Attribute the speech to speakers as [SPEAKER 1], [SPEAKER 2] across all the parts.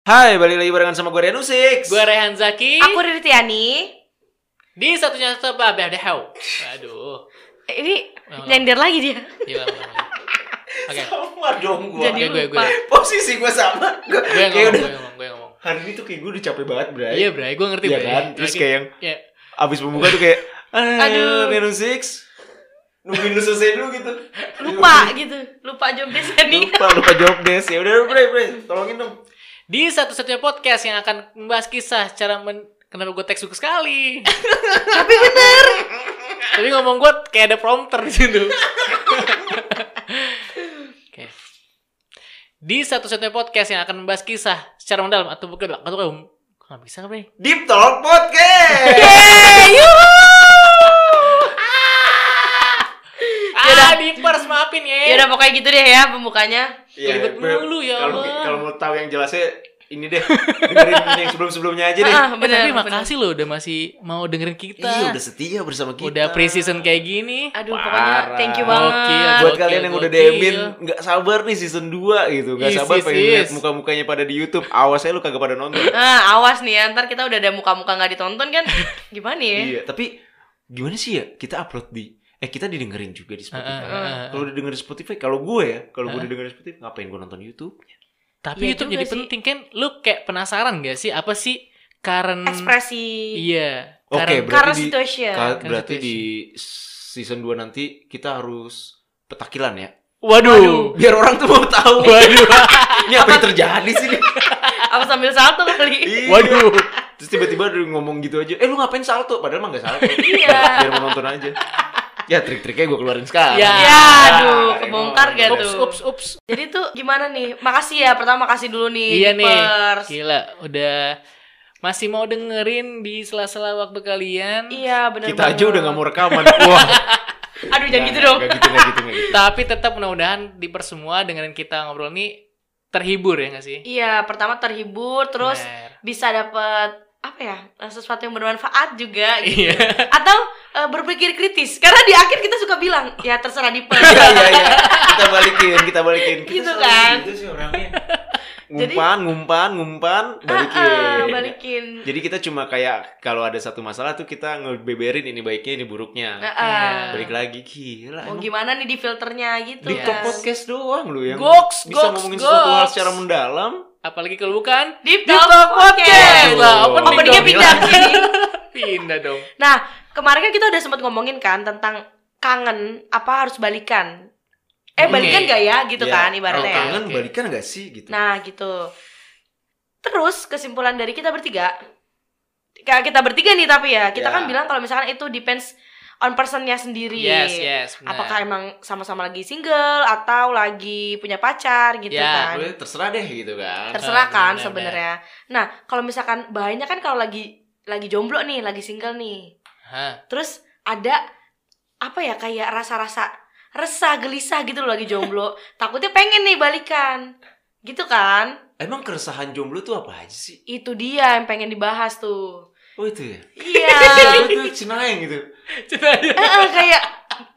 [SPEAKER 1] Hai, balik lagi barengan sama gue Renu Six.
[SPEAKER 2] Gue Rehan Zaki.
[SPEAKER 3] Aku Riri Tiani.
[SPEAKER 2] di satunya satu blah blah blah. Aduh.
[SPEAKER 3] Eh, Ini
[SPEAKER 2] Ulang, ulang.
[SPEAKER 3] nyender lagi dia.
[SPEAKER 2] Gila. gila, gila. Oke.
[SPEAKER 1] Sama dong gue.
[SPEAKER 3] Jadi
[SPEAKER 2] Oke, gue-
[SPEAKER 3] lupa.
[SPEAKER 1] Posisi gue sama. Gue
[SPEAKER 2] Gue yang
[SPEAKER 1] kayak
[SPEAKER 2] ngomong,
[SPEAKER 1] udah.
[SPEAKER 2] gue yang ngomong, gue yang ngomong.
[SPEAKER 1] Hari ini tuh kayak gue udah capek banget, Bray.
[SPEAKER 2] Iya, Bray, gue ngerti,
[SPEAKER 1] Iya
[SPEAKER 2] Bray.
[SPEAKER 1] kan? Terus kayak yang
[SPEAKER 2] Iya.
[SPEAKER 1] abis pembuka tuh kayak aduh,
[SPEAKER 3] Aduh.
[SPEAKER 1] Renu Six. Nungguin lu selesai dulu gitu.
[SPEAKER 3] Lupa gitu. Lupa job desk ini.
[SPEAKER 1] Lupa, lupa jawab des. Ya udah, Bray, Bray, tolongin dong.
[SPEAKER 2] Di satu-satunya podcast yang akan membahas kisah cara men Kenapa gue teks suka sekali?
[SPEAKER 3] Tapi bener.
[SPEAKER 2] Tapi ngomong gue kayak ada prompter di situ. Oke. Di satu-satunya podcast yang akan membahas kisah secara mendalam atau bukan atau kaum. Kenapa bisa nggak, Bray?
[SPEAKER 1] Deep Talk Podcast.
[SPEAKER 2] Iya.
[SPEAKER 3] Yeay, yuhu.
[SPEAKER 1] Ya
[SPEAKER 2] Ah, di pers maafin ya.
[SPEAKER 3] Ya udah pokoknya gitu deh ya pembukanya.
[SPEAKER 1] Iya,
[SPEAKER 2] Kelibet
[SPEAKER 1] Bray.
[SPEAKER 2] mulu, ya
[SPEAKER 1] Kalau
[SPEAKER 2] Allah.
[SPEAKER 1] kalau mau tahu yang jelasnya ini deh dengerin yang sebelum-sebelumnya aja deh.
[SPEAKER 3] Ah,
[SPEAKER 2] Eh,
[SPEAKER 3] bener,
[SPEAKER 2] tapi
[SPEAKER 3] bener.
[SPEAKER 2] makasih loh udah masih mau dengerin kita.
[SPEAKER 1] Iya, udah setia bersama kita.
[SPEAKER 2] Udah pre-season kayak gini.
[SPEAKER 3] Aduh,
[SPEAKER 1] Parah.
[SPEAKER 3] pokoknya thank you banget.
[SPEAKER 2] Gokil,
[SPEAKER 1] buat
[SPEAKER 2] Gokil,
[SPEAKER 1] kalian yang udah
[SPEAKER 2] gokil.
[SPEAKER 1] DM-in nggak sabar nih season 2 gitu nggak
[SPEAKER 2] Is,
[SPEAKER 1] sabar
[SPEAKER 2] is,
[SPEAKER 1] pengen lihat
[SPEAKER 2] is.
[SPEAKER 1] muka-mukanya pada di YouTube awas aja lu kagak pada nonton
[SPEAKER 3] Ah, awas nih ya, ntar kita udah ada muka-muka nggak ditonton kan Gimana ya?
[SPEAKER 1] iya tapi gimana sih ya kita upload di eh kita didengerin juga di Spotify
[SPEAKER 2] Heeh, heeh,
[SPEAKER 1] kalau udah dengerin Spotify kalau gue ya kalau gue udah dengerin Spotify ngapain gue nonton YouTube
[SPEAKER 2] Tapi
[SPEAKER 3] Iya
[SPEAKER 2] YouTube jadi
[SPEAKER 3] juga sih.
[SPEAKER 2] penting kan. Lu kayak penasaran gak sih apa sih current
[SPEAKER 3] Ekspresi
[SPEAKER 2] Iya.
[SPEAKER 1] Oke,
[SPEAKER 2] current-
[SPEAKER 1] berarti
[SPEAKER 3] Current
[SPEAKER 1] di-
[SPEAKER 3] situation
[SPEAKER 1] Ka-
[SPEAKER 2] kan
[SPEAKER 1] berarti
[SPEAKER 2] gitu
[SPEAKER 1] di season 2 nanti kita harus petakilan ya
[SPEAKER 2] Waduh.
[SPEAKER 1] biar orang tuh mau tahu
[SPEAKER 2] Waduh.
[SPEAKER 1] ini apa yang terjadi sih nih?
[SPEAKER 3] Apa sambil salto kali?
[SPEAKER 1] Iya.
[SPEAKER 2] Waduh.
[SPEAKER 3] Gitu.
[SPEAKER 1] terus tiba-tiba dia ngomong gitu aja eh lu ngapain salto padahal mah nggak salto
[SPEAKER 3] Iya.
[SPEAKER 1] biar mau nonton aja ya trik-triknya gue keluarin sekarang
[SPEAKER 2] Ya.
[SPEAKER 3] Ya, aduh,
[SPEAKER 1] Ah,
[SPEAKER 3] kebongkar
[SPEAKER 1] emang.
[SPEAKER 3] gak
[SPEAKER 2] Ups,
[SPEAKER 3] tuh?
[SPEAKER 2] ups, ups.
[SPEAKER 3] Jadi tuh gimana nih? Makasih ya, pertama makasih dulu nih
[SPEAKER 2] Iya nih.
[SPEAKER 3] Pers.
[SPEAKER 2] Gila, udah masih mau dengerin di sela-sela waktu kalian.
[SPEAKER 3] Iya, bener
[SPEAKER 1] kita aja
[SPEAKER 3] banget.
[SPEAKER 1] udah nggak mau rekaman wah
[SPEAKER 3] Aduh, jangan gitu dong
[SPEAKER 1] gak gitu gak gitu gak gitu
[SPEAKER 2] Tapi tetap mudah-mudahan di persemua dengerin kita ngobrol nih terhibur ya gak sih?
[SPEAKER 3] Iya, pertama terhibur, terus
[SPEAKER 1] Nah.
[SPEAKER 2] Bener.
[SPEAKER 3] bisa dapet apa ya sesuatu yang bermanfaat juga gitu.
[SPEAKER 2] Iya.
[SPEAKER 3] atau eh, berpikir kritis karena di akhir kita suka bilang ya terserah di
[SPEAKER 1] iya iya iya kita balikin kita balikin Kita
[SPEAKER 3] Gitu
[SPEAKER 1] selalu
[SPEAKER 3] kan.
[SPEAKER 1] gitu sih orangnya
[SPEAKER 3] Jadi-
[SPEAKER 1] ngumpan ngumpan ngumpan balikin
[SPEAKER 3] Ah, ah, balikin
[SPEAKER 1] jadi kita cuma kayak kalau ada satu masalah tuh kita ngebeberin ini baiknya ini buruknya
[SPEAKER 3] Ah, ah.
[SPEAKER 1] Iya.
[SPEAKER 3] Oh, gitu
[SPEAKER 1] balik lagi gila
[SPEAKER 3] mau
[SPEAKER 1] emang
[SPEAKER 3] gimana nih di filternya gitu
[SPEAKER 1] di
[SPEAKER 3] kan
[SPEAKER 1] top podcast doang lu yang
[SPEAKER 2] Goks,
[SPEAKER 1] bisa
[SPEAKER 2] goks,
[SPEAKER 1] ngomongin sesuatu hal
[SPEAKER 2] goks.
[SPEAKER 1] secara mendalam
[SPEAKER 2] Apalagi kalau bukan
[SPEAKER 3] Deep
[SPEAKER 2] Deep
[SPEAKER 3] Talk
[SPEAKER 2] Talk Podcast.
[SPEAKER 3] Podcast.
[SPEAKER 2] Lah,
[SPEAKER 1] Aduh.
[SPEAKER 2] opening
[SPEAKER 3] Openingnya
[SPEAKER 2] dong.
[SPEAKER 3] pindah ke sini.
[SPEAKER 2] Pindah dong.
[SPEAKER 3] nah kemarin kan kita udah sempat ngomongin kan tentang kangen apa harus balikan eh
[SPEAKER 2] Oke.
[SPEAKER 3] balikan gak ya gitu
[SPEAKER 1] Ya,
[SPEAKER 3] kan
[SPEAKER 1] kalau
[SPEAKER 3] ibaratnya ya.
[SPEAKER 1] kangen
[SPEAKER 2] Oke.
[SPEAKER 1] balikan gak sih gitu
[SPEAKER 3] Nah gitu. Terus kesimpulan dari kita bertiga, Ka- kita bertiga nih tapi ya kita
[SPEAKER 1] Ya.
[SPEAKER 3] kan bilang kalau misalkan itu depends on personnya sendiri.
[SPEAKER 2] Yes, Nah. yes. benar.
[SPEAKER 3] Iya. Apakah emang sama-sama lagi single atau lagi punya pacar gitu
[SPEAKER 2] Ya,
[SPEAKER 3] kan?
[SPEAKER 1] Boleh, terserah deh gitu kan
[SPEAKER 3] Terserah kan
[SPEAKER 2] Benar,
[SPEAKER 3] sebenarnya. Nah kalau misalkan banyak kan kalau lagi lagi jomblo nih, lagi single nih,
[SPEAKER 2] Hah.
[SPEAKER 3] terus ada apa ya kayak rasa-rasa resah gelisah gitu loh lagi jomblo takutnya pengen nih balikan gitu kan
[SPEAKER 1] Emang keresahan jomblo tuh apa aja sih?
[SPEAKER 3] itu dia yang pengen dibahas tuh
[SPEAKER 1] Oh itu ya?
[SPEAKER 2] Ah.
[SPEAKER 3] iya
[SPEAKER 1] Itu Cenayang gitu
[SPEAKER 3] Eh, eh, kayak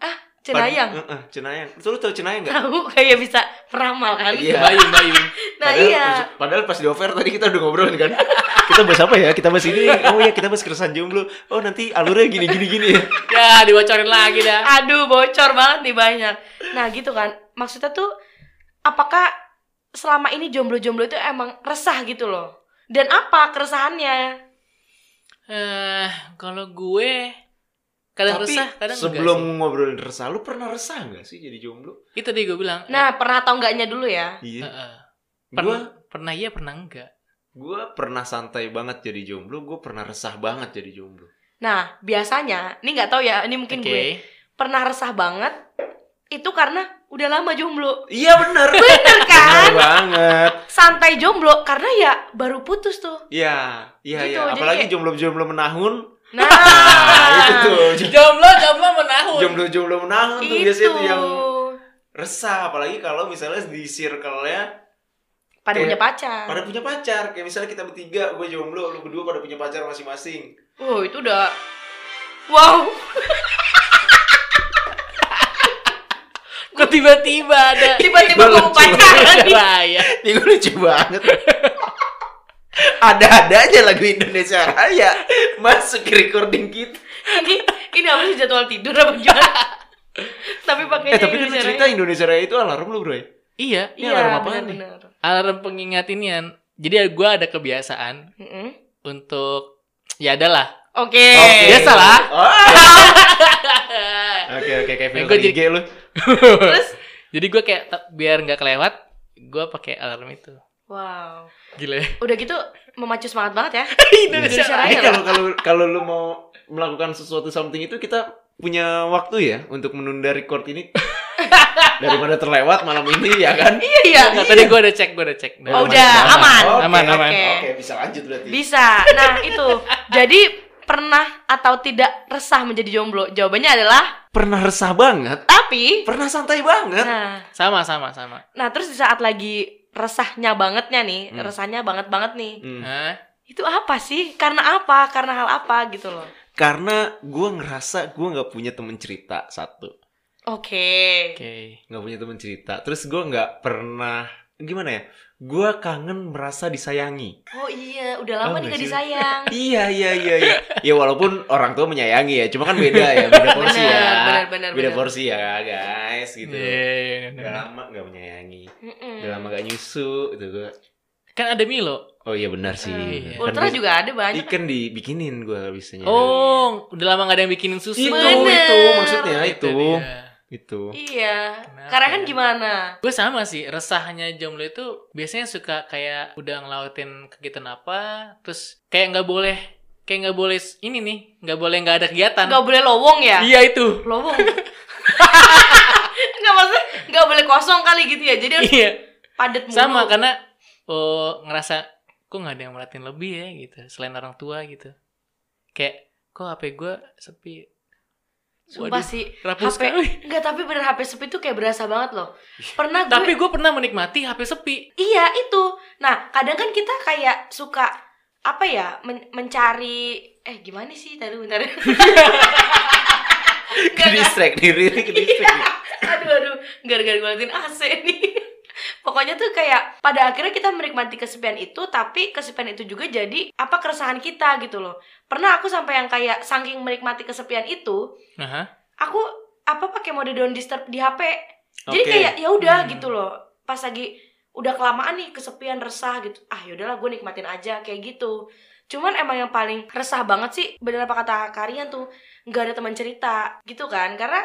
[SPEAKER 3] ah cenayang
[SPEAKER 1] Pad- Heeh, Cenayang Itu lu tau Cenayang gak?
[SPEAKER 3] tahu kayak bisa meramal kan
[SPEAKER 1] Iya.
[SPEAKER 2] Bayung, bayung.
[SPEAKER 3] nah iya
[SPEAKER 1] Padahal pas di over tadi kita udah ngobrol kan Kita bahas apa ya? Kita bahas ini Oh iya kita bahas keresahan jomblo Oh nanti alurnya gini-gini-gini ya
[SPEAKER 2] Ya, dibocorin lagi dah.
[SPEAKER 3] aduh bocor banget nih banyak nah gitu kan maksudnya tuh apakah selama ini jomblo-jomblo itu emang resah gitu loh dan apa keresahannya
[SPEAKER 2] Eh, kalau gue kadang
[SPEAKER 1] Tapi
[SPEAKER 2] resah, kadang enggak
[SPEAKER 1] sebelum
[SPEAKER 2] sih.
[SPEAKER 1] ngobrolin resah Lu pernah resah gak sih jadi jomblo?
[SPEAKER 2] itu tadi gue bilang. eh,
[SPEAKER 3] nah pernah atau enggaknya dulu ya
[SPEAKER 1] Iya
[SPEAKER 2] eh, eh.
[SPEAKER 1] Gue
[SPEAKER 2] pernah, pernah iya, pernah enggak.
[SPEAKER 1] gua pernah santai banget jadi jomblo Gue pernah resah banget jadi jomblo
[SPEAKER 3] nah biasanya ini nggak tahu ya ini mungkin
[SPEAKER 2] Oke.
[SPEAKER 3] gue pernah resah banget itu karena udah lama jomblo
[SPEAKER 1] Iya bener
[SPEAKER 3] bener kan
[SPEAKER 1] Bener banget
[SPEAKER 3] santai jomblo karena ya baru putus tuh.
[SPEAKER 1] Iya Iya
[SPEAKER 3] Gitu,
[SPEAKER 1] iya
[SPEAKER 3] jadi
[SPEAKER 1] Apalagi
[SPEAKER 3] kayak-
[SPEAKER 1] jomblo-jomblo menahun
[SPEAKER 3] Nah,
[SPEAKER 1] Nah itu tuh
[SPEAKER 3] Gitu.
[SPEAKER 2] Jomblo, jomblo menahun.
[SPEAKER 1] jomblo-jomblo menang tuh biasanya
[SPEAKER 3] itu.
[SPEAKER 1] tuh yang resah apalagi kalau misalnya di circle-nya
[SPEAKER 3] Pada
[SPEAKER 1] Kayak-
[SPEAKER 3] punya pacar.
[SPEAKER 1] pada punya pacar kayak misalnya kita bertiga gue jomblo lu berdua pada punya pacar masing-masing
[SPEAKER 3] Wow, itu udah Wow,
[SPEAKER 2] Kok tiba-tiba ada iya.
[SPEAKER 3] tiba-tiba
[SPEAKER 1] Lucu
[SPEAKER 3] kamu pacaran.
[SPEAKER 2] bahaya.
[SPEAKER 1] ini gue lucu banget ada-ada aja lagu Indonesia Raya masuk ke recording kita.
[SPEAKER 3] ini ini apa sih jadwal tidur apa gimana tapi pakai
[SPEAKER 1] Eh tapi kan lu cerita Indonesia Raya itu alarm lu bro ya?
[SPEAKER 2] Iya,
[SPEAKER 1] ini alarm apaan nih?
[SPEAKER 2] alarm pengingat inian. Jadi gue ada kebiasaan untuk ya adalah.
[SPEAKER 3] oke
[SPEAKER 1] Oke.
[SPEAKER 2] Biasa lah.
[SPEAKER 1] Eh. Oh. Oke oke kayak
[SPEAKER 2] Eh,
[SPEAKER 1] film
[SPEAKER 2] gua jadi-
[SPEAKER 1] IG lu.
[SPEAKER 3] terus
[SPEAKER 2] Jadi gue kayak ta- biar nggak kelewat, gue pakai alarm itu.
[SPEAKER 3] wow
[SPEAKER 2] Gila. ya.
[SPEAKER 3] udah gitu memacu semangat banget
[SPEAKER 1] Iya.
[SPEAKER 3] ya
[SPEAKER 2] Indonesia
[SPEAKER 3] Indonesia
[SPEAKER 1] Eh
[SPEAKER 2] Raya.
[SPEAKER 3] Raya.
[SPEAKER 1] kalau kalau kalau lu mau melakukan sesuatu something itu kita punya waktu ya untuk menunda record ini daripada terlewat malam ini ya kan?
[SPEAKER 3] iya iya
[SPEAKER 2] Nggak, tadi gue udah cek, gue udah cek.
[SPEAKER 3] Oh, udah, aman.
[SPEAKER 1] Oke,
[SPEAKER 2] Aman,
[SPEAKER 1] oke.
[SPEAKER 2] aman.
[SPEAKER 1] Oke, bisa lanjut berarti.
[SPEAKER 3] bisa nah itu jadi pernah atau tidak resah menjadi jomblo jawabannya adalah
[SPEAKER 1] Pernah resah banget,
[SPEAKER 3] tapi
[SPEAKER 1] pernah santai banget.
[SPEAKER 3] nah
[SPEAKER 2] Sama, sama, sama.
[SPEAKER 3] nah terus di saat lagi resahnya bangetnya nih
[SPEAKER 1] Hmm.
[SPEAKER 3] resahnya banget banget nih
[SPEAKER 1] Hmm.
[SPEAKER 2] Hah?
[SPEAKER 3] itu apa sih karena apa karena hal apa gitu loh
[SPEAKER 1] Karena gue ngerasa gue nggak punya temen cerita satu,
[SPEAKER 3] oke
[SPEAKER 2] Oke.
[SPEAKER 1] nggak punya temen cerita. Terus gue nggak pernah gimana ya? Gue kangen merasa disayangi.
[SPEAKER 3] oh iya udah
[SPEAKER 1] Oh,
[SPEAKER 3] lama nih
[SPEAKER 1] nggak
[SPEAKER 3] gak
[SPEAKER 1] sih?
[SPEAKER 3] disayang
[SPEAKER 1] iya iya iya. iya. Ya walaupun orang tua menyayangi ya, cuma kan beda ya, beda porsi ya,
[SPEAKER 3] Benar, benar, benar,
[SPEAKER 1] beda
[SPEAKER 3] benar.
[SPEAKER 1] porsi ya guys gitu.
[SPEAKER 2] Iya, Hmm. iya,
[SPEAKER 1] Udah
[SPEAKER 2] iya, iya.
[SPEAKER 1] lama nggak menyayangi,
[SPEAKER 3] Mm-mm.
[SPEAKER 1] udah lama gak nyusu gitu gue.
[SPEAKER 2] Kan ada Milo.
[SPEAKER 1] Oh iya benar sih.
[SPEAKER 2] Iya.
[SPEAKER 1] Kan
[SPEAKER 3] Ultra
[SPEAKER 1] bis-
[SPEAKER 3] Oh, juga ada banyak.
[SPEAKER 1] Ikan dibikinin gue biasanya.
[SPEAKER 2] Oh, udah lama gak ada yang bikinin susu.
[SPEAKER 1] Iya.
[SPEAKER 2] Iya,
[SPEAKER 1] itu
[SPEAKER 3] Bener.
[SPEAKER 1] itu maksudnya itu itu.
[SPEAKER 3] Iya.
[SPEAKER 2] Kenapa
[SPEAKER 3] Karena kan
[SPEAKER 2] ya?
[SPEAKER 3] gimana?
[SPEAKER 2] Gue sama sih, resahnya jomblo itu biasanya suka kayak udah ngelautin kegiatan apa, terus kayak nggak boleh, kayak nggak boleh s- ini nih, nggak boleh nggak ada kegiatan.
[SPEAKER 3] Gak boleh lowong ya?
[SPEAKER 2] Kan. Iya itu.
[SPEAKER 3] Lowong. Enggak maksudnya gak boleh kosong kali gitu ya. Jadi harus
[SPEAKER 2] Iya.
[SPEAKER 3] padat mulu.
[SPEAKER 2] Sama kan. karena oh, ngerasa kok nggak ada yang merhatiin lebih ya gitu, selain orang tua gitu. Kayak kok HP gue sepi.
[SPEAKER 3] Sumpah
[SPEAKER 2] Waduh,
[SPEAKER 3] sih.
[SPEAKER 2] rapuh
[SPEAKER 3] HP
[SPEAKER 2] sekali.
[SPEAKER 3] Enggak, tapi bener HP sepi tuh kayak berasa banget loh. Pernah gue
[SPEAKER 2] Tapi gue pernah menikmati HP sepi.
[SPEAKER 3] Iya itu. Nah kadang kan kita kayak suka apa ya men- mencari eh gimana sih tadi bentar
[SPEAKER 2] Iya,
[SPEAKER 1] Ke distract diri ke distract.
[SPEAKER 3] aduh aduh gara-gara gue liatin AC nih pokoknya tuh kayak pada akhirnya kita menikmati kesepian itu tapi kesepian itu juga jadi apa keresahan kita gitu loh pernah aku sampai yang kayak saking menikmati kesepian itu
[SPEAKER 2] Aha.
[SPEAKER 3] aku apa pakai mode don't disturb di HP jadi
[SPEAKER 1] Oke.
[SPEAKER 3] kayak ya udah
[SPEAKER 2] Hmm.
[SPEAKER 3] gitu loh pas lagi udah kelamaan nih kesepian resah gitu ah yaudahlah gue nikmatin aja kayak gitu cuman emang yang paling resah banget sih bener apa kata Karian tuh nggak ada teman cerita gitu kan karena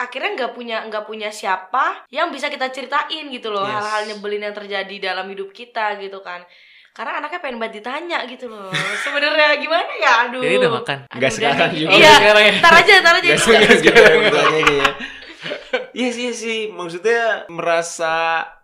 [SPEAKER 3] akhirnya nggak punya nggak punya siapa yang bisa kita ceritain gitu loh
[SPEAKER 1] Yes.
[SPEAKER 3] hal-hal nyebelin yang terjadi dalam hidup kita gitu kan karena anaknya pengen banget ditanya gitu loh sebenarnya gimana ya aduh
[SPEAKER 2] Jadi udah makan.
[SPEAKER 3] Aduh,
[SPEAKER 1] Nggak
[SPEAKER 3] udah
[SPEAKER 1] sekarang
[SPEAKER 3] nih.
[SPEAKER 1] juga.
[SPEAKER 3] iya
[SPEAKER 2] Sekarang ya.
[SPEAKER 3] ntar aja ntar aja
[SPEAKER 1] Gak sih, gak sih, gak sih, gak sih, gak sih. Iya sih, iya sih. Maksudnya merasa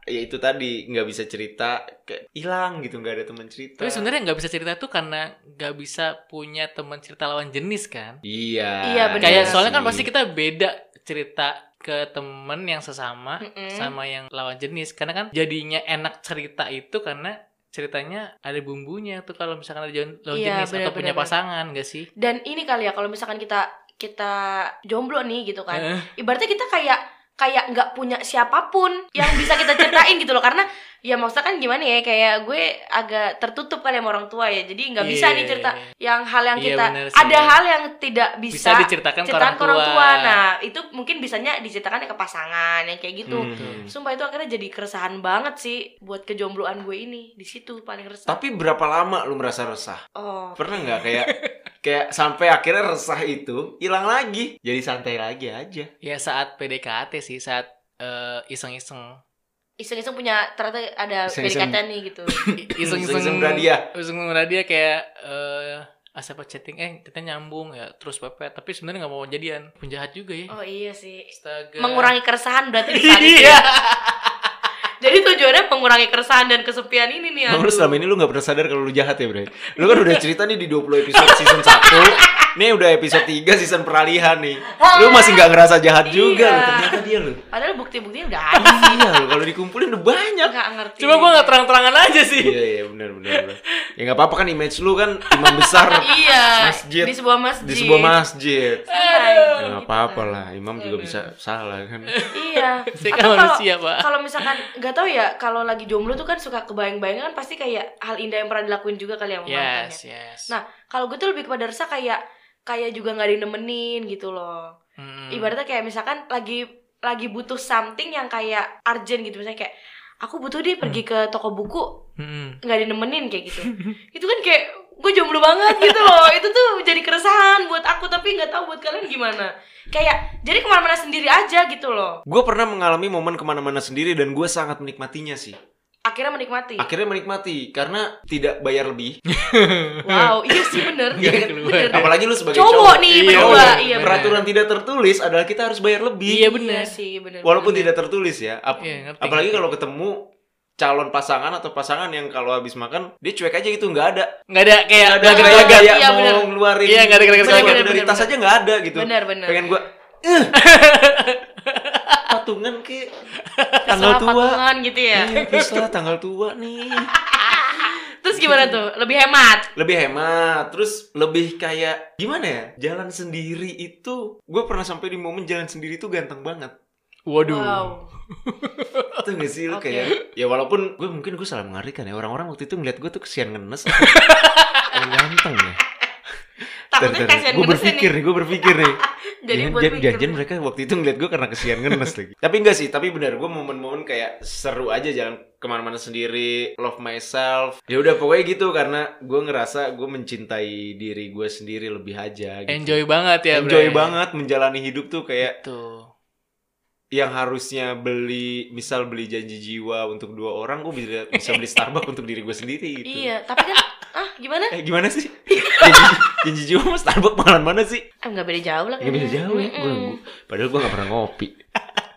[SPEAKER 1] ya itu tadi nggak bisa cerita, kayak hilang gitu nggak ada teman cerita.
[SPEAKER 2] Tapi sebenarnya nggak bisa cerita tuh karena nggak bisa punya teman cerita lawan jenis kan.
[SPEAKER 1] Iya.
[SPEAKER 3] Iya, benar.
[SPEAKER 2] Kayak
[SPEAKER 3] Iya
[SPEAKER 2] soalnya kan pasti kita beda cerita ke temen yang sesama
[SPEAKER 3] Mm-mm.
[SPEAKER 2] sama yang lawan jenis karena kan jadinya enak cerita itu karena ceritanya ada bumbunya tuh kalau misalkan ada jalan- lawan
[SPEAKER 3] Iya,
[SPEAKER 2] jenis atau
[SPEAKER 3] benar,
[SPEAKER 2] punya
[SPEAKER 3] benar,
[SPEAKER 2] pasangan gak sih?
[SPEAKER 3] dan ini kali ya kalau misalkan kita kita jomblo nih gitu kan
[SPEAKER 2] Eh,
[SPEAKER 3] ibaratnya kita kayak kayak nggak punya siapapun yang bisa kita ceritain gitu loh karena ya maksudnya kan gimana ya kayak gue agak tertutup kali sama orang tua ya jadi nggak bisa
[SPEAKER 2] Iya,
[SPEAKER 3] nih cerita
[SPEAKER 2] iya,
[SPEAKER 3] yang hal yang
[SPEAKER 2] Iya,
[SPEAKER 3] kita
[SPEAKER 2] bener sih.
[SPEAKER 3] ada hal yang tidak
[SPEAKER 2] bisa,
[SPEAKER 3] bisa,
[SPEAKER 2] diceritakan ke orang
[SPEAKER 3] ceritakan ke orang tua.
[SPEAKER 2] tua.
[SPEAKER 3] nah itu mungkin bisanya diceritakan ya ke pasangan yang kayak gitu
[SPEAKER 1] Hmm.
[SPEAKER 3] sumpah itu akhirnya jadi keresahan banget sih buat kejombloan gue ini di situ paling resah
[SPEAKER 1] Tapi berapa lama lu merasa resah?
[SPEAKER 3] oh
[SPEAKER 1] Pernah nggak kayak kayak sampai akhirnya resah itu hilang lagi, jadi santai lagi aja.
[SPEAKER 2] Ya saat PDKT sih saat eh, iseng-iseng
[SPEAKER 3] iseng-iseng punya ternyata ada
[SPEAKER 1] Iseng-iseng.
[SPEAKER 3] PDKT nih gitu
[SPEAKER 1] Iseng-iseng
[SPEAKER 2] iseng-iseng
[SPEAKER 1] beradia.
[SPEAKER 2] iseng-iseng beradia kayak eh asal chatting eh kita nyambung ya terus pepet tapi sebenarnya nggak mau jadian pun jahat juga ya
[SPEAKER 3] oh iya sih
[SPEAKER 2] astaga
[SPEAKER 3] mengurangi keresahan berarti di saat itu ya.
[SPEAKER 2] iya
[SPEAKER 3] Jadi tujuannya mengurangi keresahan dan kesepian ini nih.
[SPEAKER 1] Emang
[SPEAKER 3] Iya,
[SPEAKER 1] lu
[SPEAKER 3] aduh.
[SPEAKER 1] selama ini lu gak pernah sadar kalau lu jahat ya bre Lu kan udah cerita nih di 20 episode season 1 Nih udah episode 3 season peralihan nih Lu masih gak ngerasa jahat juga
[SPEAKER 3] Iya.
[SPEAKER 1] lu Ternyata dia lu
[SPEAKER 3] Padahal bukti-buktinya udah ada.
[SPEAKER 1] Iya lu kalau dikumpulin udah banyak
[SPEAKER 3] Gak ngerti.
[SPEAKER 2] cuma gue nggak terang-terangan aja sih
[SPEAKER 1] Iya iya benar benar benar. ya nggak apa-apa kan image lu kan imam besar
[SPEAKER 3] iya
[SPEAKER 1] Masjid.
[SPEAKER 3] di sebuah masjid
[SPEAKER 1] di sebuah masjid
[SPEAKER 3] Santai,
[SPEAKER 1] ya nggak
[SPEAKER 3] gitu
[SPEAKER 1] apa-apa
[SPEAKER 3] kan.
[SPEAKER 1] lah imam juga bisa salah kan
[SPEAKER 3] iya
[SPEAKER 2] Saya
[SPEAKER 3] Atau
[SPEAKER 2] kan
[SPEAKER 3] kalau-
[SPEAKER 2] manusia, Pak.
[SPEAKER 3] kalau misalkan nggak tahu ya kalau lagi jomblo tuh kan suka kebayang-bayangan pasti kayak hal indah yang pernah dilakuin juga kali ya sama mantannya.
[SPEAKER 2] Yes, yes.
[SPEAKER 3] Nah, kalau gue tuh lebih kepada resah kayak kayak juga nggak ada yang nemenin gitu loh.
[SPEAKER 2] Hmm.
[SPEAKER 3] Ibaratnya kayak misalkan lagi lagi butuh something yang kayak urgent gitu misalnya kayak aku butuh deh pergi
[SPEAKER 1] Hmm.
[SPEAKER 3] ke toko buku
[SPEAKER 2] Hmm.
[SPEAKER 3] nggak ada yang nemenin kayak gitu. itu kan kayak gue jomblo banget gitu loh. Itu tuh jadi keresahan buat aku tapi nggak tahu buat kalian gimana. Kayak jadi kemana-mana sendiri aja gitu loh.
[SPEAKER 1] gue pernah mengalami momen kemana-mana sendiri dan gue sangat menikmatinya sih
[SPEAKER 3] Akhirnya menikmati.
[SPEAKER 1] akhirnya menikmati karena tidak bayar lebih
[SPEAKER 3] Iya. Wow, iya sih bener.
[SPEAKER 2] Nggak
[SPEAKER 3] Bener.
[SPEAKER 2] keluar.
[SPEAKER 1] apalagi lu sebagai
[SPEAKER 3] Cowok
[SPEAKER 1] cowok,
[SPEAKER 3] nih,
[SPEAKER 1] Iya,
[SPEAKER 2] berdua.
[SPEAKER 1] cowok.
[SPEAKER 2] Iya, benar.
[SPEAKER 1] peraturan tidak tertulis adalah kita harus bayar lebih
[SPEAKER 2] Iya benar.
[SPEAKER 3] sih bener.
[SPEAKER 1] walaupun tidak tertulis ya Ap-
[SPEAKER 2] Iya, ngerti,
[SPEAKER 1] apalagi
[SPEAKER 2] ngerti.
[SPEAKER 1] kalau ketemu calon pasangan atau pasangan yang kalau habis makan dia cuek aja gitu nggak ada
[SPEAKER 2] Nggak ada kayak
[SPEAKER 1] nggak ada
[SPEAKER 2] gelagat
[SPEAKER 1] kayak,
[SPEAKER 2] gelagat.
[SPEAKER 1] kayak
[SPEAKER 3] Iya,
[SPEAKER 1] mau
[SPEAKER 3] bener.
[SPEAKER 1] ngeluarin
[SPEAKER 2] Iya, nggak ada greget-greget.
[SPEAKER 1] sesuatu
[SPEAKER 3] Bener,
[SPEAKER 1] dari
[SPEAKER 3] bener,
[SPEAKER 1] tas
[SPEAKER 3] bener.
[SPEAKER 1] aja nggak ada gitu
[SPEAKER 3] Bener, bener.
[SPEAKER 1] pengen gue eh patungan ke tanggal
[SPEAKER 3] Terserah
[SPEAKER 1] tua
[SPEAKER 3] patungan gitu ya.
[SPEAKER 1] Iya, terserah tanggal tua nih
[SPEAKER 3] Terus gimana tuh? Lebih hemat.
[SPEAKER 1] lebih hemat terus lebih kayak gimana ya jalan sendiri itu gue pernah sampai di momen jalan sendiri itu ganteng banget
[SPEAKER 2] Waduh.
[SPEAKER 3] Wow.
[SPEAKER 1] Tuh gak sih lu
[SPEAKER 3] Oke.
[SPEAKER 1] kayak Ya walaupun gue mungkin gue salah mengartikan ya Orang-orang waktu itu ngeliat gue tuh kesian ngenes Yang ganteng ya
[SPEAKER 3] Takutnya kasihan ya
[SPEAKER 1] Gue
[SPEAKER 3] ngenes
[SPEAKER 1] berpikir nih, gue berpikir nih
[SPEAKER 3] Jadi
[SPEAKER 1] Jangan-
[SPEAKER 3] buat
[SPEAKER 1] jangan-
[SPEAKER 3] mikir.
[SPEAKER 1] jangan Iya, mereka waktu itu ngeliat gue karena kesian ngenes lagi Tapi enggak sih, tapi benar Gue momen-momen kayak seru aja jalan kemana-mana sendiri Love myself Ya udah pokoknya gitu Karena gue ngerasa gue mencintai diri gue sendiri lebih aja gitu.
[SPEAKER 2] Enjoy banget ya, Gitu.
[SPEAKER 1] Enjoy
[SPEAKER 2] Bray.
[SPEAKER 1] banget ya. menjalani hidup tuh kayak
[SPEAKER 2] Tuh.
[SPEAKER 1] yang harusnya beli misal beli janji jiwa untuk dua orang gue bisa bisa beli Starbucks untuk diri gue sendiri gitu.
[SPEAKER 3] Iya, tapi kan ah gimana?
[SPEAKER 1] Eh gimana sih? janji, janji jiwa sama Starbucks malah mana sih?
[SPEAKER 3] Ah nggak beda jauh lah.
[SPEAKER 1] Gak bisa jauh ya. Gua,
[SPEAKER 3] Mm-mm.
[SPEAKER 1] gua- padahal gue gak pernah ngopi.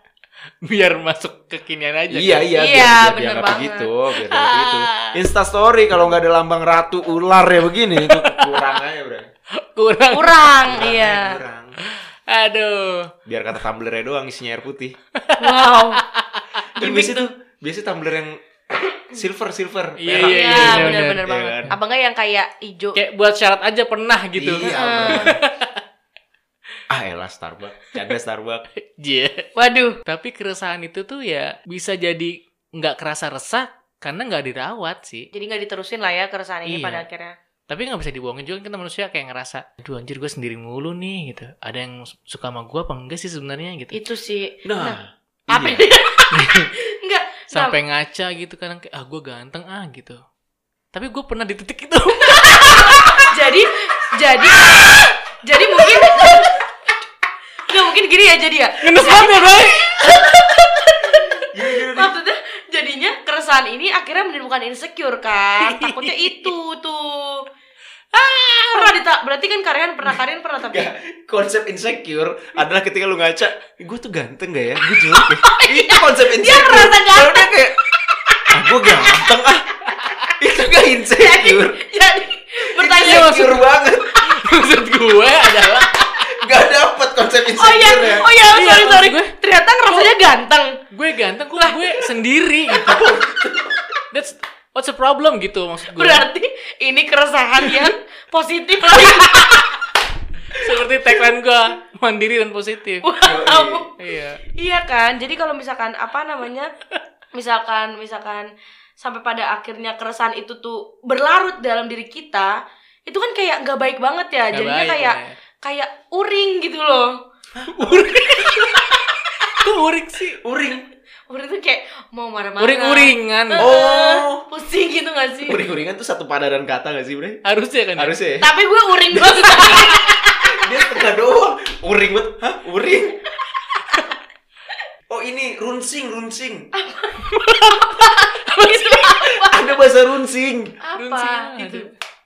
[SPEAKER 2] Biar masuk kekinian aja.
[SPEAKER 1] iya iya.
[SPEAKER 3] Iya,
[SPEAKER 1] biar- biar
[SPEAKER 3] bener
[SPEAKER 1] dianggap
[SPEAKER 3] banget.
[SPEAKER 1] begitu, biar dianggap begitu. Insta story kalau nggak ada lambang ratu ular ya begini itu kurang aja bro.
[SPEAKER 2] Kurang.
[SPEAKER 3] Kurang,
[SPEAKER 1] Kurang,
[SPEAKER 3] iya.
[SPEAKER 1] Kurang.
[SPEAKER 2] Aduh.
[SPEAKER 1] Biar kata tumblernya doang isinya air putih.
[SPEAKER 3] Wow.
[SPEAKER 1] Dan biasa tuh biasa tumbler yang silver silver.
[SPEAKER 2] Iya,
[SPEAKER 1] merah.
[SPEAKER 2] iya,
[SPEAKER 3] Iya,
[SPEAKER 2] iya, bener,
[SPEAKER 3] benar-benar
[SPEAKER 1] iya
[SPEAKER 3] banget.
[SPEAKER 1] kan?
[SPEAKER 3] Apa nggak yang kayak ijo?
[SPEAKER 2] Kayak buat syarat aja pernah gitu.
[SPEAKER 1] Iya.
[SPEAKER 3] Heeh.
[SPEAKER 1] bener. ah elah Starbucks. Canda Starbucks.
[SPEAKER 2] Iya.
[SPEAKER 3] Waduh.
[SPEAKER 2] Tapi keresahan itu tuh ya bisa jadi nggak kerasa resah karena nggak dirawat sih.
[SPEAKER 3] Jadi nggak diterusin lah ya keresahan ini
[SPEAKER 2] Iya.
[SPEAKER 3] pada akhirnya.
[SPEAKER 2] tapi nggak bisa dibohongin juga kan kita manusia kayak ngerasa aduh anjir gue sendiri mulu nih gitu ada yang su- suka sama gue apa enggak sih sebenarnya gitu
[SPEAKER 3] Itu sih.
[SPEAKER 1] Nah.
[SPEAKER 3] Apa?
[SPEAKER 1] iya.
[SPEAKER 3] Enggak.
[SPEAKER 2] sampai ngaca gitu kadang kayak ah gue ganteng ah gitu tapi gue pernah di titik itu
[SPEAKER 3] jadi jadi jadi mungkin nggak mungkin gini ya jadi ya
[SPEAKER 2] ngenes banget ya Bray
[SPEAKER 3] maksudnya jadinya keresahan ini akhirnya menimbulkan insecure kan takutnya itu tuh ah pernah dita- berarti kan karyan pernah karyan pernah tapi
[SPEAKER 1] Nggak, konsep insecure adalah ketika lu ngaca, gue tuh ganteng gak ya? Gue jelek ya? Itu konsep insecure.
[SPEAKER 3] Iya, merasa
[SPEAKER 1] Kalau dia kayak, ah gue ganteng ah. Itu gak insecure.
[SPEAKER 3] jadi
[SPEAKER 1] Iya,
[SPEAKER 3] bertanya gitu.
[SPEAKER 1] insecure banget.
[SPEAKER 2] maksud gue adalah
[SPEAKER 1] Gak dapet konsep
[SPEAKER 3] oh iya
[SPEAKER 1] insecure ya.
[SPEAKER 3] oh
[SPEAKER 2] Iya,
[SPEAKER 3] iya sorry sorry
[SPEAKER 2] maksud gue.
[SPEAKER 3] ternyata
[SPEAKER 1] Oh.
[SPEAKER 3] ngerasanya ganteng
[SPEAKER 1] Iya.
[SPEAKER 2] gue ganteng kok gue sendiri gitu that's what's the problem gitu maksud gue
[SPEAKER 3] berarti ini keresahan yang positif lah
[SPEAKER 2] seperti tagline gue mandiri dan positif
[SPEAKER 3] wow
[SPEAKER 2] iya
[SPEAKER 3] Iya kan, jadi kalau misalkan apa namanya, misalkan misalkan sampai pada akhirnya keresahan itu tuh berlarut dalam diri kita, itu kan kayak nggak baik banget ya,
[SPEAKER 2] Nggak
[SPEAKER 3] jadinya
[SPEAKER 2] baik,
[SPEAKER 3] kayak
[SPEAKER 1] iya.
[SPEAKER 2] ya.
[SPEAKER 3] kayak uring gitu loh.
[SPEAKER 2] kok uring sih
[SPEAKER 1] Uring.
[SPEAKER 3] Uring tuh kayak mau marah-marah.
[SPEAKER 2] uring-uringan
[SPEAKER 1] Oh.
[SPEAKER 3] pusing gitu gak sih?
[SPEAKER 1] Uring-uringan tuh satu padanan kata gak sih, Bre?
[SPEAKER 2] harusnya kan ya?
[SPEAKER 1] Harusnya ya.
[SPEAKER 3] Tapi gue uring banget.
[SPEAKER 1] Dia setengah doang. Uring banget. Hah? Uring? Oh ini runsing, runsing.
[SPEAKER 3] Itu apa?
[SPEAKER 1] Ada bahasa runsing.
[SPEAKER 3] Apa?
[SPEAKER 2] Runsing ada.
[SPEAKER 3] Gitu.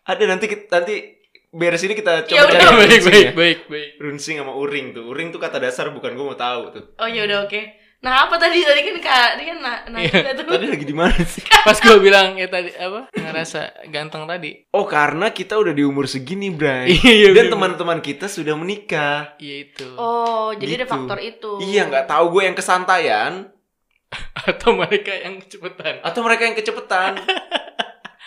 [SPEAKER 1] Ada nanti kita, nanti beres ini kita coba
[SPEAKER 3] Ya
[SPEAKER 1] cari
[SPEAKER 3] udah.
[SPEAKER 2] baik
[SPEAKER 1] runsing
[SPEAKER 2] baik
[SPEAKER 1] ya.
[SPEAKER 2] baik baik
[SPEAKER 1] Runsing sama uring tuh. Uring tuh kata dasar bukan gue mau tahu tuh.
[SPEAKER 3] Oh ya udah oke. Nah apa tadi tadi kan kak, tadi kan nah, nah
[SPEAKER 2] Iya.
[SPEAKER 3] tuh.
[SPEAKER 1] Tadi lagi di mana sih?
[SPEAKER 2] pas gue bilang ya tadi apa ngerasa ganteng tadi
[SPEAKER 1] Oh karena kita udah di umur segini, Bray.
[SPEAKER 2] Iya,
[SPEAKER 1] Dan
[SPEAKER 2] bener.
[SPEAKER 1] teman-teman kita sudah menikah.
[SPEAKER 2] iya itu
[SPEAKER 3] Oh jadi ada
[SPEAKER 1] Gitu.
[SPEAKER 3] faktor itu.
[SPEAKER 1] Iya, nggak tahu gue yang kesantaian
[SPEAKER 2] atau mereka yang cepetan
[SPEAKER 1] atau mereka yang kecepetan.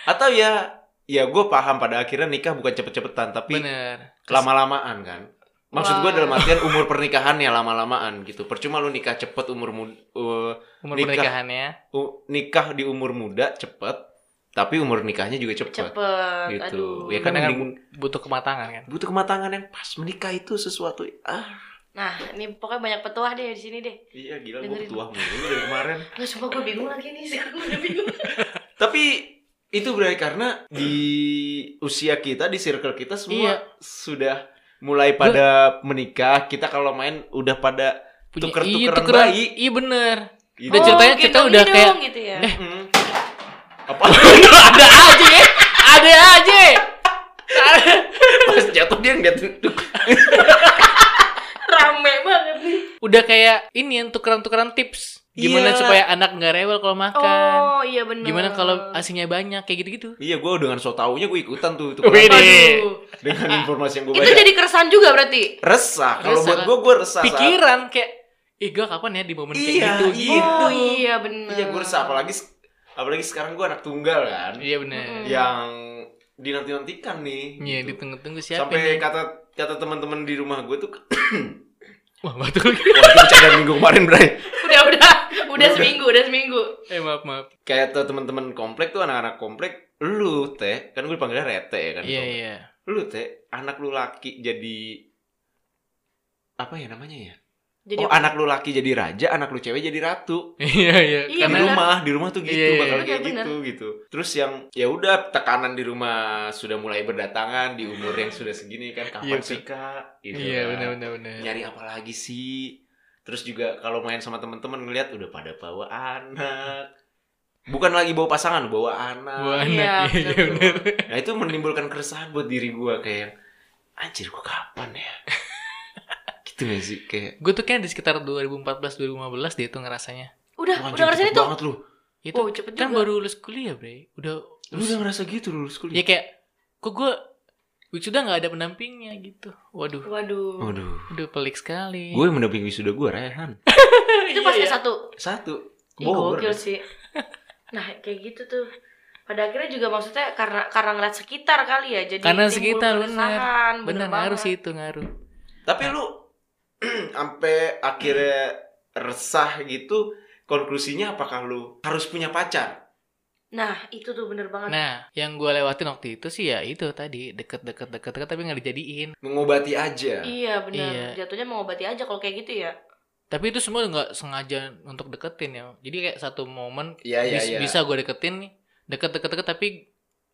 [SPEAKER 1] atau ya ya gue paham pada akhirnya nikah bukan cepet-cepetan tapi
[SPEAKER 2] bener
[SPEAKER 1] lama-lamaan kan maksud gue
[SPEAKER 3] Wah.
[SPEAKER 1] dalam artian umur pernikahannya lama-lamaan gitu percuma lu nikah cepet umur eh, muda
[SPEAKER 2] umur
[SPEAKER 1] nikah.
[SPEAKER 2] pernikahannya
[SPEAKER 1] nikah di umur muda cepet tapi umur nikahnya juga cepet,
[SPEAKER 3] cepet
[SPEAKER 1] gitu
[SPEAKER 3] aduh
[SPEAKER 1] ya kan
[SPEAKER 2] Kadang-kadang
[SPEAKER 1] mending-
[SPEAKER 2] butuh kematangan kan
[SPEAKER 1] butuh kematangan yang pas menikah itu sesuatu ah
[SPEAKER 3] nah ini pokoknya banyak petuah deh di sini deh
[SPEAKER 1] iya gila
[SPEAKER 3] Dengerin.
[SPEAKER 1] gue tua mulu dari kemarin
[SPEAKER 3] nggak sumpah gue bingung lagi nih sekarang gue udah bingung
[SPEAKER 1] tapi itu berarti karena di usia kita di circle kita semua
[SPEAKER 2] Iya.
[SPEAKER 1] sudah mulai pada menikah kita kalau main udah pada
[SPEAKER 2] Punya-
[SPEAKER 1] Tuker-tukeran
[SPEAKER 2] iya, tukeran.
[SPEAKER 1] bayi.
[SPEAKER 2] iya bener
[SPEAKER 1] gitu.
[SPEAKER 2] Udah ceritanya
[SPEAKER 3] gitu,
[SPEAKER 2] kita udah
[SPEAKER 3] gitu
[SPEAKER 2] kayak-
[SPEAKER 3] dong, gitu ya.
[SPEAKER 2] Eh.
[SPEAKER 1] Mm. apa
[SPEAKER 2] ada aja ya ada aja
[SPEAKER 1] pas jatuh dia ngeliat
[SPEAKER 3] rame banget nih
[SPEAKER 2] udah kayak ini yang tukeran-tukeran tips gimana
[SPEAKER 1] Iya.
[SPEAKER 2] supaya anak nggak rewel kalau makan
[SPEAKER 3] oh iya benar
[SPEAKER 2] Kan. gimana kalau asinya banyak kayak gitu-gitu
[SPEAKER 1] Iya, gue dengan so taunya gue ikutan tuh itu
[SPEAKER 2] Wih, deh.
[SPEAKER 3] Aduh.
[SPEAKER 1] dengan informasi yang gue
[SPEAKER 3] itu
[SPEAKER 1] baca.
[SPEAKER 3] jadi keresan juga berarti
[SPEAKER 1] Resah. Kalau
[SPEAKER 2] Resah
[SPEAKER 1] buat
[SPEAKER 2] kan?
[SPEAKER 1] gue, gue resah. saat-
[SPEAKER 2] pikiran kayak ih gua kapan ya di momen kayak
[SPEAKER 1] Iya,
[SPEAKER 2] gitu
[SPEAKER 1] iya.
[SPEAKER 2] gitu
[SPEAKER 3] oh iya benar
[SPEAKER 1] Iya, gue resah. Apalagi apalagi sekarang gue anak tunggal kan,
[SPEAKER 2] iya bener
[SPEAKER 3] Mm-mm.
[SPEAKER 1] yang dinanti nantikan nih.
[SPEAKER 2] iya
[SPEAKER 1] gitu.
[SPEAKER 2] ditunggu-tunggu siapa
[SPEAKER 1] Sampai
[SPEAKER 2] nih?
[SPEAKER 1] kata kata teman-teman di rumah gue tuh
[SPEAKER 2] wah batuk lagi.
[SPEAKER 1] waktu bercanda minggu kemarin Bray.
[SPEAKER 3] udah udah udah seminggu udah seminggu
[SPEAKER 2] eh maaf maaf
[SPEAKER 1] Kayak tuh teman-teman komplek tuh anak-anak komplek lu teh kan gue dipanggilnya rete ya kan
[SPEAKER 2] iya
[SPEAKER 1] komplek.
[SPEAKER 2] iya
[SPEAKER 1] lu teh anak lu laki jadi apa ya namanya ya
[SPEAKER 3] jadi
[SPEAKER 1] oh anak lu laki jadi raja anak lu cewek jadi ratu
[SPEAKER 2] iya iya
[SPEAKER 3] Iya,
[SPEAKER 1] di
[SPEAKER 3] bener.
[SPEAKER 2] karena
[SPEAKER 1] rumah di rumah tuh gitu
[SPEAKER 2] Iya, iya,
[SPEAKER 1] bakal
[SPEAKER 3] iya.
[SPEAKER 1] kayak
[SPEAKER 3] Bener,
[SPEAKER 1] gitu gitu terus yang ya udah tekanan di rumah sudah mulai berdatangan di umur yang sudah segini kan
[SPEAKER 2] Iya,
[SPEAKER 1] kapan
[SPEAKER 2] betul.
[SPEAKER 1] sih kak gitu
[SPEAKER 2] iya
[SPEAKER 1] kan.
[SPEAKER 2] bener bener bener
[SPEAKER 1] nyari apa lagi sih terus juga kalau main sama teman-teman ngeliat udah pada bawa anak bukan lagi bawa pasangan bawa anak
[SPEAKER 2] Gua
[SPEAKER 3] Iya,
[SPEAKER 2] anak iya
[SPEAKER 3] betul.
[SPEAKER 2] bener
[SPEAKER 1] nah itu menimbulkan keresahan buat diri gua kayak anjir gua kapan ya gitu gak sih kayak
[SPEAKER 2] gue tuh kayak di sekitar 2014 2015 dia tuh ngerasanya
[SPEAKER 3] udah
[SPEAKER 1] "Wah,
[SPEAKER 3] udah
[SPEAKER 1] anjir,
[SPEAKER 3] ngerasain
[SPEAKER 1] cepet
[SPEAKER 3] itu
[SPEAKER 1] banget lu
[SPEAKER 2] itu
[SPEAKER 3] wow Oh, cepet
[SPEAKER 2] kan
[SPEAKER 3] iya juga
[SPEAKER 2] baru lulus kuliah bre udah
[SPEAKER 1] lu udah ngerasa gitu lu lulus
[SPEAKER 2] ya
[SPEAKER 1] kuliah
[SPEAKER 2] kayak kok gue wisuda nggak ada pendampingnya gitu waduh
[SPEAKER 3] waduh
[SPEAKER 1] waduh
[SPEAKER 2] udah pelik sekali
[SPEAKER 1] Gue yang mendampingi wisuda gue Rehan.
[SPEAKER 3] itu pas
[SPEAKER 2] Iya,
[SPEAKER 3] S1
[SPEAKER 1] Satu.
[SPEAKER 3] Ih,
[SPEAKER 1] Bogor.
[SPEAKER 3] gokil sih nah kayak gitu tuh pada akhirnya juga maksudnya karena karena ngeliat sekitar kali ya jadi
[SPEAKER 2] Karena
[SPEAKER 3] timbul
[SPEAKER 2] sekitar, bener.
[SPEAKER 3] keresahan,
[SPEAKER 2] bener
[SPEAKER 3] banget.
[SPEAKER 2] ngaruh sih itu ngaruh
[SPEAKER 1] Tapi lu sampai akhirnya resah gitu, konklusinya apakah lu harus punya pacar?
[SPEAKER 3] nah itu tuh bener banget
[SPEAKER 2] nah yang gue lewatin waktu itu sih ya itu tadi deket deket deket deket tapi nggak dijadiin
[SPEAKER 1] Mengobati aja.
[SPEAKER 3] iya bener
[SPEAKER 2] Iya.
[SPEAKER 3] jatuhnya mengobati aja kalau kayak gitu ya
[SPEAKER 2] tapi itu semua nggak sengaja untuk deketin ya jadi kayak satu momen
[SPEAKER 1] Iya, iya,
[SPEAKER 2] bis-
[SPEAKER 1] iya.
[SPEAKER 2] bisa gue deketin nih deket deket deket tapi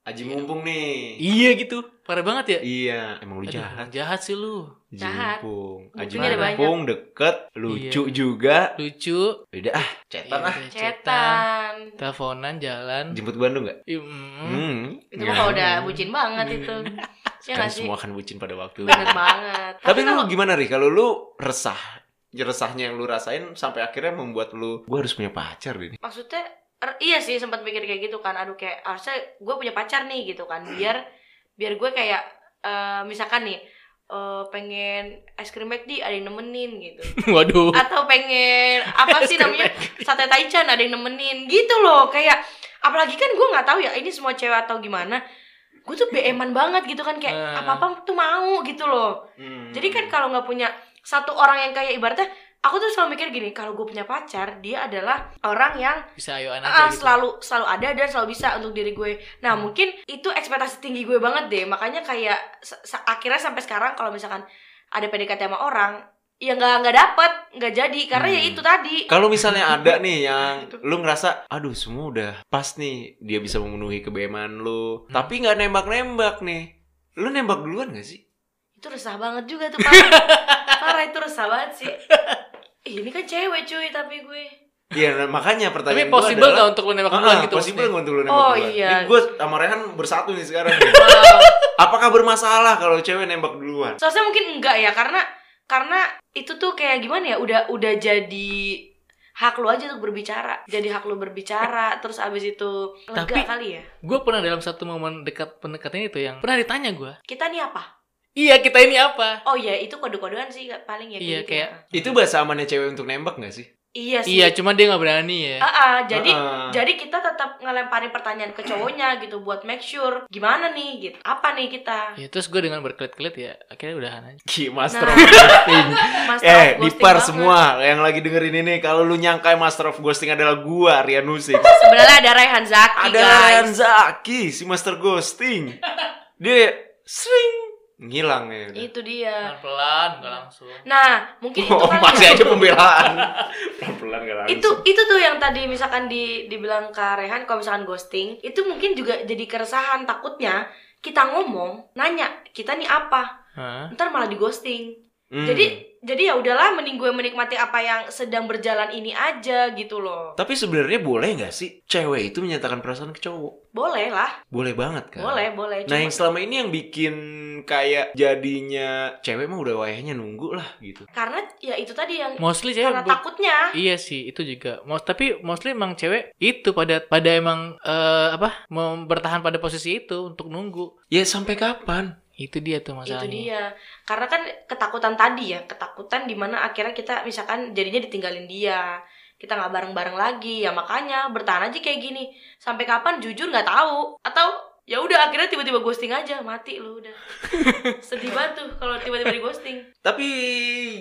[SPEAKER 1] Aji mumpung nih.
[SPEAKER 2] iya gitu parah banget ya
[SPEAKER 1] Iya, emang lu
[SPEAKER 2] Aduh,
[SPEAKER 1] jahat.
[SPEAKER 2] jahat sih lu
[SPEAKER 1] Aji
[SPEAKER 3] Jahat.
[SPEAKER 1] mumpung. Aji
[SPEAKER 3] Mumpungnya ada
[SPEAKER 1] mumpung deket, lucu
[SPEAKER 3] Iya.
[SPEAKER 1] juga.
[SPEAKER 2] lucu
[SPEAKER 1] Udah ah, cetan
[SPEAKER 2] Iya,
[SPEAKER 1] ah.
[SPEAKER 2] udah cetan.
[SPEAKER 3] cetan
[SPEAKER 2] teleponan jalan
[SPEAKER 1] Iya. Jemput Bandung gak?
[SPEAKER 2] Ih, mm.
[SPEAKER 1] Hmm.
[SPEAKER 3] itu mah kalau udah
[SPEAKER 2] Hmm.
[SPEAKER 3] bucin banget itu ya
[SPEAKER 1] Kan
[SPEAKER 3] nggak sih
[SPEAKER 1] semua akan bucin pada waktu.
[SPEAKER 3] bener banget
[SPEAKER 1] Tapi
[SPEAKER 3] kalau
[SPEAKER 1] lu gimana Ri? Kalau lu resah, resahnya yang lu rasain sampai akhirnya membuat lu gue harus punya pacar ini.
[SPEAKER 3] maksudnya er- iya sih sempat mikir kayak gitu kan aduh kayak harusnya gue punya pacar nih gitu kan biar biar gue kayak eh, misalkan nih eh, pengen es krim McD ada yang nemenin gitu
[SPEAKER 2] waduh
[SPEAKER 3] atau pengen apa sih namanya sate taichan ada yang nemenin gitu loh kayak apalagi kan gue nggak tahu ya ini semua cewek atau gimana gue tuh beeman banget gitu kan kayak
[SPEAKER 2] Ah.
[SPEAKER 3] apa apa tuh mau gitu loh Jadi
[SPEAKER 1] Hmm.
[SPEAKER 3] kan kalau nggak punya satu orang yang kayak ibaratnya aku tuh selalu mikir gini, kalau gue punya pacar, dia adalah orang yang
[SPEAKER 2] bisa ayo
[SPEAKER 3] ah,
[SPEAKER 2] anak gitu.
[SPEAKER 3] selalu selalu ada dan selalu bisa untuk diri gue. Nah, mungkin itu ekspektasi tinggi gue banget deh. Makanya kayak sa- sa- akhirnya sampai sekarang kalau misalkan ada PDKT sama orang, ya nggak nggak dapet, nggak jadi karena ya
[SPEAKER 1] Hmm.
[SPEAKER 3] itu tadi.
[SPEAKER 1] kalau misalnya ada nih yang
[SPEAKER 3] Gitu.
[SPEAKER 1] lu ngerasa aduh semua udah pas nih dia bisa memenuhi kebeman
[SPEAKER 3] Hmm.
[SPEAKER 1] lu, tapi nggak nembak-nembak nih. Lu nembak duluan gak sih?
[SPEAKER 3] Itu resah banget juga tuh parah. parah itu resah banget sih. Ih, ini kan cewek cuy tapi gue.
[SPEAKER 1] Iya, nah, makanya
[SPEAKER 2] tapi
[SPEAKER 1] pertanyaan gua
[SPEAKER 2] possible nggak
[SPEAKER 1] adalah
[SPEAKER 2] untuk lu nembak
[SPEAKER 1] Ah,
[SPEAKER 2] duluan gitu
[SPEAKER 1] possible
[SPEAKER 2] maksudnya?
[SPEAKER 1] nggak untuk lu nembak
[SPEAKER 3] Oh,
[SPEAKER 1] duluan?
[SPEAKER 3] iya.
[SPEAKER 1] Ini gue sama Rehan bersatu nih sekarang. nih.
[SPEAKER 3] Wow.
[SPEAKER 1] Apakah bermasalah kalau cewek nembak duluan?
[SPEAKER 3] Seharusnya mungkin enggak ya karena karena itu tuh kayak gimana ya udah udah jadi hak lu aja untuk berbicara. Jadi hak lu berbicara terus abis itu lega
[SPEAKER 2] Tapi-
[SPEAKER 3] kali ya.
[SPEAKER 2] gue pernah dalam satu momen dekat pendekatan itu yang pernah ditanya gue
[SPEAKER 3] Kita nih apa?
[SPEAKER 2] iya kita ini apa
[SPEAKER 3] Oh ya iya, itu kode-kodean sih paling ya
[SPEAKER 2] iya
[SPEAKER 3] gitu
[SPEAKER 2] kayak
[SPEAKER 1] Itu bahasa amannya cewek untuk nembak gak sih?
[SPEAKER 3] ya. Iya sih.
[SPEAKER 2] Iya, cuma dia nggak berani ya.
[SPEAKER 3] Ah, ah, jadi
[SPEAKER 1] Ah, ah.
[SPEAKER 3] jadi kita tetap ngelemparin pertanyaan ke cowoknya gitu buat make sure gimana nih gitu. Apa nih kita?
[SPEAKER 2] Ya, terus gue dengan berkelit-kelit ya akhirnya udahan aja.
[SPEAKER 1] Ki, Master
[SPEAKER 3] Nah.
[SPEAKER 1] of Ghosting.
[SPEAKER 3] Master
[SPEAKER 1] eh,
[SPEAKER 3] of
[SPEAKER 1] di
[SPEAKER 3] ghosting
[SPEAKER 1] par
[SPEAKER 3] banget.
[SPEAKER 1] semua yang lagi dengerin ini kalau lu nyangka Master of Ghosting adalah gua Rian Nusik.
[SPEAKER 3] Sebenarnya ada Raihan Zaki,
[SPEAKER 1] Ada Rian
[SPEAKER 3] guys.
[SPEAKER 1] Zaki, si Master Ghosting. Dia sering ngilang ya. udah.
[SPEAKER 3] Itu dia.
[SPEAKER 2] Pelan-pelan, nggak langsung.
[SPEAKER 3] Nah, mungkin itu
[SPEAKER 1] Oh,
[SPEAKER 3] kan
[SPEAKER 1] masih aja pembelaan. Pelan-pelan gak langsung.
[SPEAKER 3] itu itu tuh yang tadi misalkan di dibilang Kak Rehan kalau misalkan ghosting itu mungkin juga jadi keresahan takutnya kita ngomong nanya kita nih apa
[SPEAKER 2] Hah?
[SPEAKER 3] ntar malah di ghosting
[SPEAKER 1] Hmm.
[SPEAKER 3] jadi jadi ya udahlah mending gue menikmati apa yang sedang berjalan ini aja gitu loh
[SPEAKER 1] tapi sebenarnya boleh nggak sih cewek itu menyatakan perasaan ke cowok?
[SPEAKER 3] boleh lah
[SPEAKER 1] Boleh banget kan?
[SPEAKER 3] boleh boleh
[SPEAKER 1] Nah,
[SPEAKER 3] Cuma-
[SPEAKER 1] yang selama ini yang bikin kayak jadinya cewek mah udah wayahnya nunggu lah gitu.
[SPEAKER 3] karena ya itu tadi yang
[SPEAKER 2] Mostly cewek
[SPEAKER 3] karena
[SPEAKER 2] Ya, bu-
[SPEAKER 3] takutnya
[SPEAKER 2] Iya sih, itu juga. Mo- tapi mostly emang cewek itu pada pada emang eh, apa? mem- bertahan pada posisi itu untuk nunggu.
[SPEAKER 1] Ya sampai kapan?
[SPEAKER 2] Itu dia tuh Iya, masalahnya.
[SPEAKER 3] itu dia karena kan ketakutan tadi ya ketakutan dimana akhirnya kita misalkan jadinya ditinggalin dia kita nggak bareng bareng lagi ya makanya bertahan aja kayak gini sampai kapan jujur nggak tahu atau ya udah akhirnya tiba-tiba ghosting aja mati lu udah sedih banget tuh kalau tiba-tiba di ghosting
[SPEAKER 1] Tapi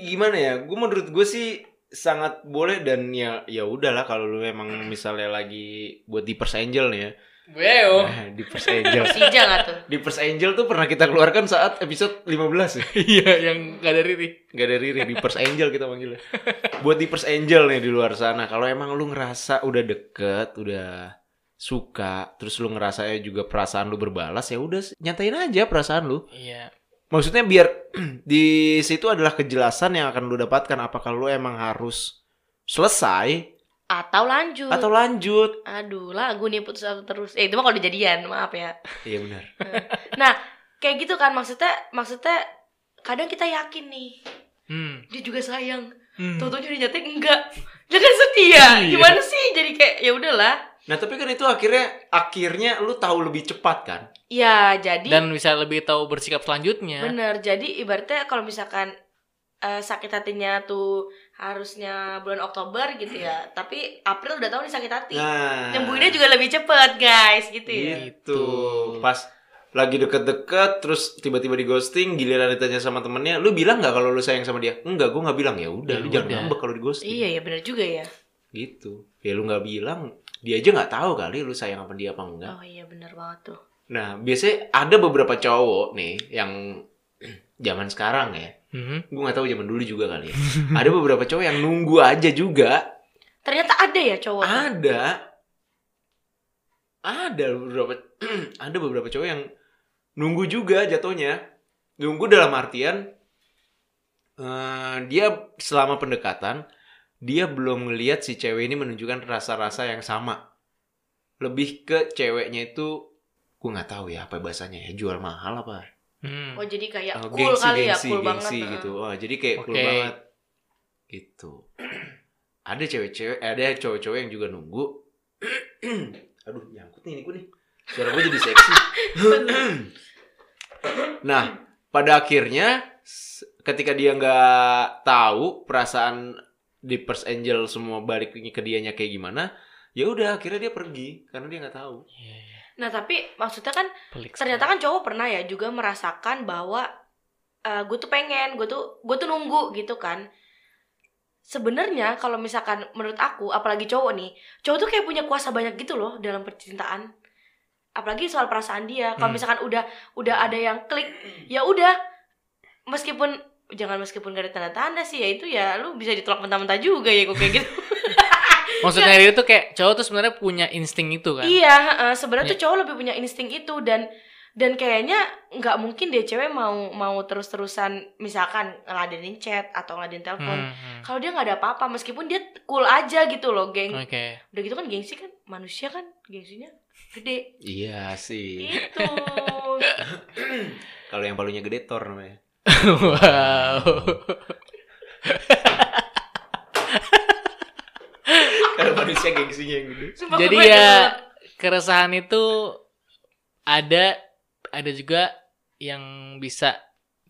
[SPEAKER 1] gimana ya? Gue menurut gue sih sangat boleh dan ya ya udahlah kalau lu memang misalnya lagi buat di First Angel nih ya.
[SPEAKER 2] Wow.
[SPEAKER 1] Nah, di First Angel.
[SPEAKER 3] si nggak tuh
[SPEAKER 1] di First Angel tuh pernah kita keluarkan saat episode 15 ya.
[SPEAKER 2] Iya, yang gak ada riri.
[SPEAKER 1] Gak ada Riri, di First Angel kita manggilnya. Buat di First Angel nih di luar sana, kalau emang lu ngerasa udah deket, udah suka, terus lu ngerasa ya juga perasaan lu berbalas, ya udah nyatain aja perasaan lu.
[SPEAKER 2] Iya.
[SPEAKER 1] Maksudnya biar di situ adalah kejelasan yang akan lu dapatkan apakah lu emang harus selesai
[SPEAKER 3] atau lanjut
[SPEAKER 1] atau lanjut.
[SPEAKER 3] aduh lagu nih putus asa terus eh itu mah kalau udah jadian maaf ya
[SPEAKER 1] Iya benar.
[SPEAKER 3] kayak gitu kan maksudnya maksudnya kadang kita yakin nih
[SPEAKER 2] Hmm.
[SPEAKER 3] dia juga sayang
[SPEAKER 2] Hmm.
[SPEAKER 3] Toto jadi nyatek enggak. Dia kan setia.
[SPEAKER 2] Iya.
[SPEAKER 3] Gimana sih? Jadi kayak ya udahlah.
[SPEAKER 1] Nah, tapi kan itu akhirnya akhirnya lu tahu lebih cepat kan?
[SPEAKER 3] Ya, jadi
[SPEAKER 2] Dan ya. bisa lebih tahu bersikap selanjutnya.
[SPEAKER 3] bener. Jadi ibaratnya kalau misalkan eh, sakit hatinya tuh harusnya bulan Oktober gitu ya. Tapi April udah tahu nih sakit hati.
[SPEAKER 1] Nah.
[SPEAKER 3] Iya. Nyembuhinnya juga lebih cepet guys gitu ya.
[SPEAKER 1] Gitu.
[SPEAKER 2] Gitu.
[SPEAKER 1] Pas lagi deket-deket terus tiba-tiba di ghosting giliran ditanya sama temennya lu bilang nggak kalau lu sayang sama dia enggak gue nggak bilang ya udah
[SPEAKER 2] Ya
[SPEAKER 1] lu jangan
[SPEAKER 2] udah.
[SPEAKER 1] ngambek kalau di ghosting
[SPEAKER 3] Iya ya bener juga ya.
[SPEAKER 1] gitu ya lu nggak bilang dia aja nggak tahu kali lu sayang sama dia apa enggak
[SPEAKER 3] Oh iya bener banget tuh.
[SPEAKER 1] nah biasanya ada beberapa cowok nih yang zaman sekarang ya
[SPEAKER 2] Hmm.
[SPEAKER 1] gue nggak tahu zaman dulu juga kali ya. ada beberapa cowok yang nunggu aja juga
[SPEAKER 3] Ternyata ada ya cowok. tuh.
[SPEAKER 1] ada ada beberapa ada beberapa cowok yang nunggu juga jatuhnya nunggu dalam artian eh, dia selama pendekatan dia belum ngelihat si cewek ini menunjukkan rasa-rasa yang sama lebih ke ceweknya itu gue nggak tahu ya apa bahasanya ya jual mahal apa
[SPEAKER 2] Hmm.
[SPEAKER 3] Oh jadi kayak
[SPEAKER 1] Oh,
[SPEAKER 3] cool
[SPEAKER 1] gengsi
[SPEAKER 3] kali ya,
[SPEAKER 1] gengsi
[SPEAKER 3] cool banget.
[SPEAKER 1] gengsi
[SPEAKER 3] Heeh.
[SPEAKER 1] gitu Wah, jadi kayak cool
[SPEAKER 2] Oke.
[SPEAKER 1] banget gitu ada cewek-cewek eh, ada cowok-cowok yang juga nunggu aduh nyangkut nih ini gue nih suara gue jadi seksi nah pada akhirnya s- ketika dia nggak tahu perasaan di First Angel semua balik lagi ke dianya kayak gimana ya udah akhirnya dia pergi karena dia nggak tahu
[SPEAKER 2] Iya, iya.
[SPEAKER 3] Nah tapi maksudnya kan
[SPEAKER 2] Pelik sekali.
[SPEAKER 3] ternyata kan cowok pernah ya juga merasakan bahwa eh, gue tuh pengen gue tuh gue tuh nunggu gitu kan sebenarnya kalau misalkan menurut aku apalagi cowok nih cowok tuh kayak punya kuasa banyak gitu loh dalam percintaan apalagi soal perasaan dia kalau
[SPEAKER 2] Hmm.
[SPEAKER 3] misalkan udah udah ada yang klik ya udah meskipun jangan meskipun gak ada tanda-tanda sih ya itu ya lu bisa ditolak mentah-mentah juga ya kok kayak gitu
[SPEAKER 2] Maksudnya Riri tuh kayak cowok tuh sebenarnya punya insting itu kan.
[SPEAKER 3] Iya, heeh,
[SPEAKER 2] Iya.
[SPEAKER 3] sebenarnya tuh cowok lebih punya insting itu dan dan kayaknya nggak mungkin deh cewek mau mau terus-terusan misalkan ngeladenin chat atau ngeladenin telepon.
[SPEAKER 2] Hmm, hmm.
[SPEAKER 3] Kalau dia nggak ada apa-apa meskipun dia cool aja gitu loh, geng.
[SPEAKER 2] Oke.
[SPEAKER 3] Udah gitu kan gengsi kan manusia kan gengsinya gede gitu.
[SPEAKER 1] iya sih
[SPEAKER 3] itu.
[SPEAKER 1] kalau yang palunya gede tor namanya
[SPEAKER 2] wow.
[SPEAKER 1] kalau manusia gengsinya yang gede
[SPEAKER 3] Sumpah
[SPEAKER 2] Jadi
[SPEAKER 3] gue
[SPEAKER 2] ya
[SPEAKER 3] inget
[SPEAKER 2] keresahan itu ada ada juga yang bisa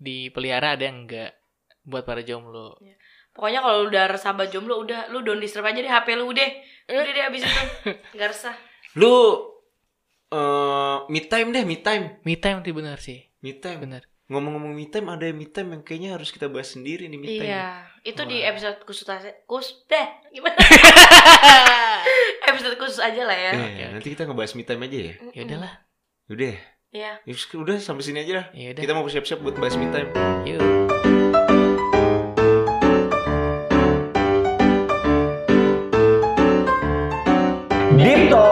[SPEAKER 2] dipelihara ada yang enggak buat para jomblo.
[SPEAKER 3] banget. Pokoknya kalau udah resah banget jomblo udah lu don't disturb aja deh HP lu deh. Udah deh abis itu nggak resah.
[SPEAKER 1] Lu eh me time deh, me time.
[SPEAKER 2] Me time tuh benar sih.
[SPEAKER 1] Me time.
[SPEAKER 2] Benar.
[SPEAKER 1] Ngomong-ngomong me time ada me time yang kayaknya harus kita bahas sendiri nih me
[SPEAKER 2] ya.
[SPEAKER 1] time.
[SPEAKER 3] Iya, itu di
[SPEAKER 1] Wah.
[SPEAKER 3] episode khusus aja. Kus deh, gimana? episode khusus aja lah ya.
[SPEAKER 1] Eh,
[SPEAKER 2] oke.
[SPEAKER 1] nanti kita ngebahas me time aja ya.
[SPEAKER 2] Iya. ya udahlah.
[SPEAKER 1] Udah. ya?
[SPEAKER 3] Iya.
[SPEAKER 1] Ya, udah sampai sini aja lah.
[SPEAKER 2] Ya udah.
[SPEAKER 1] Kita mau siap-siap buat bahas me time.
[SPEAKER 2] Yuk.
[SPEAKER 1] Dito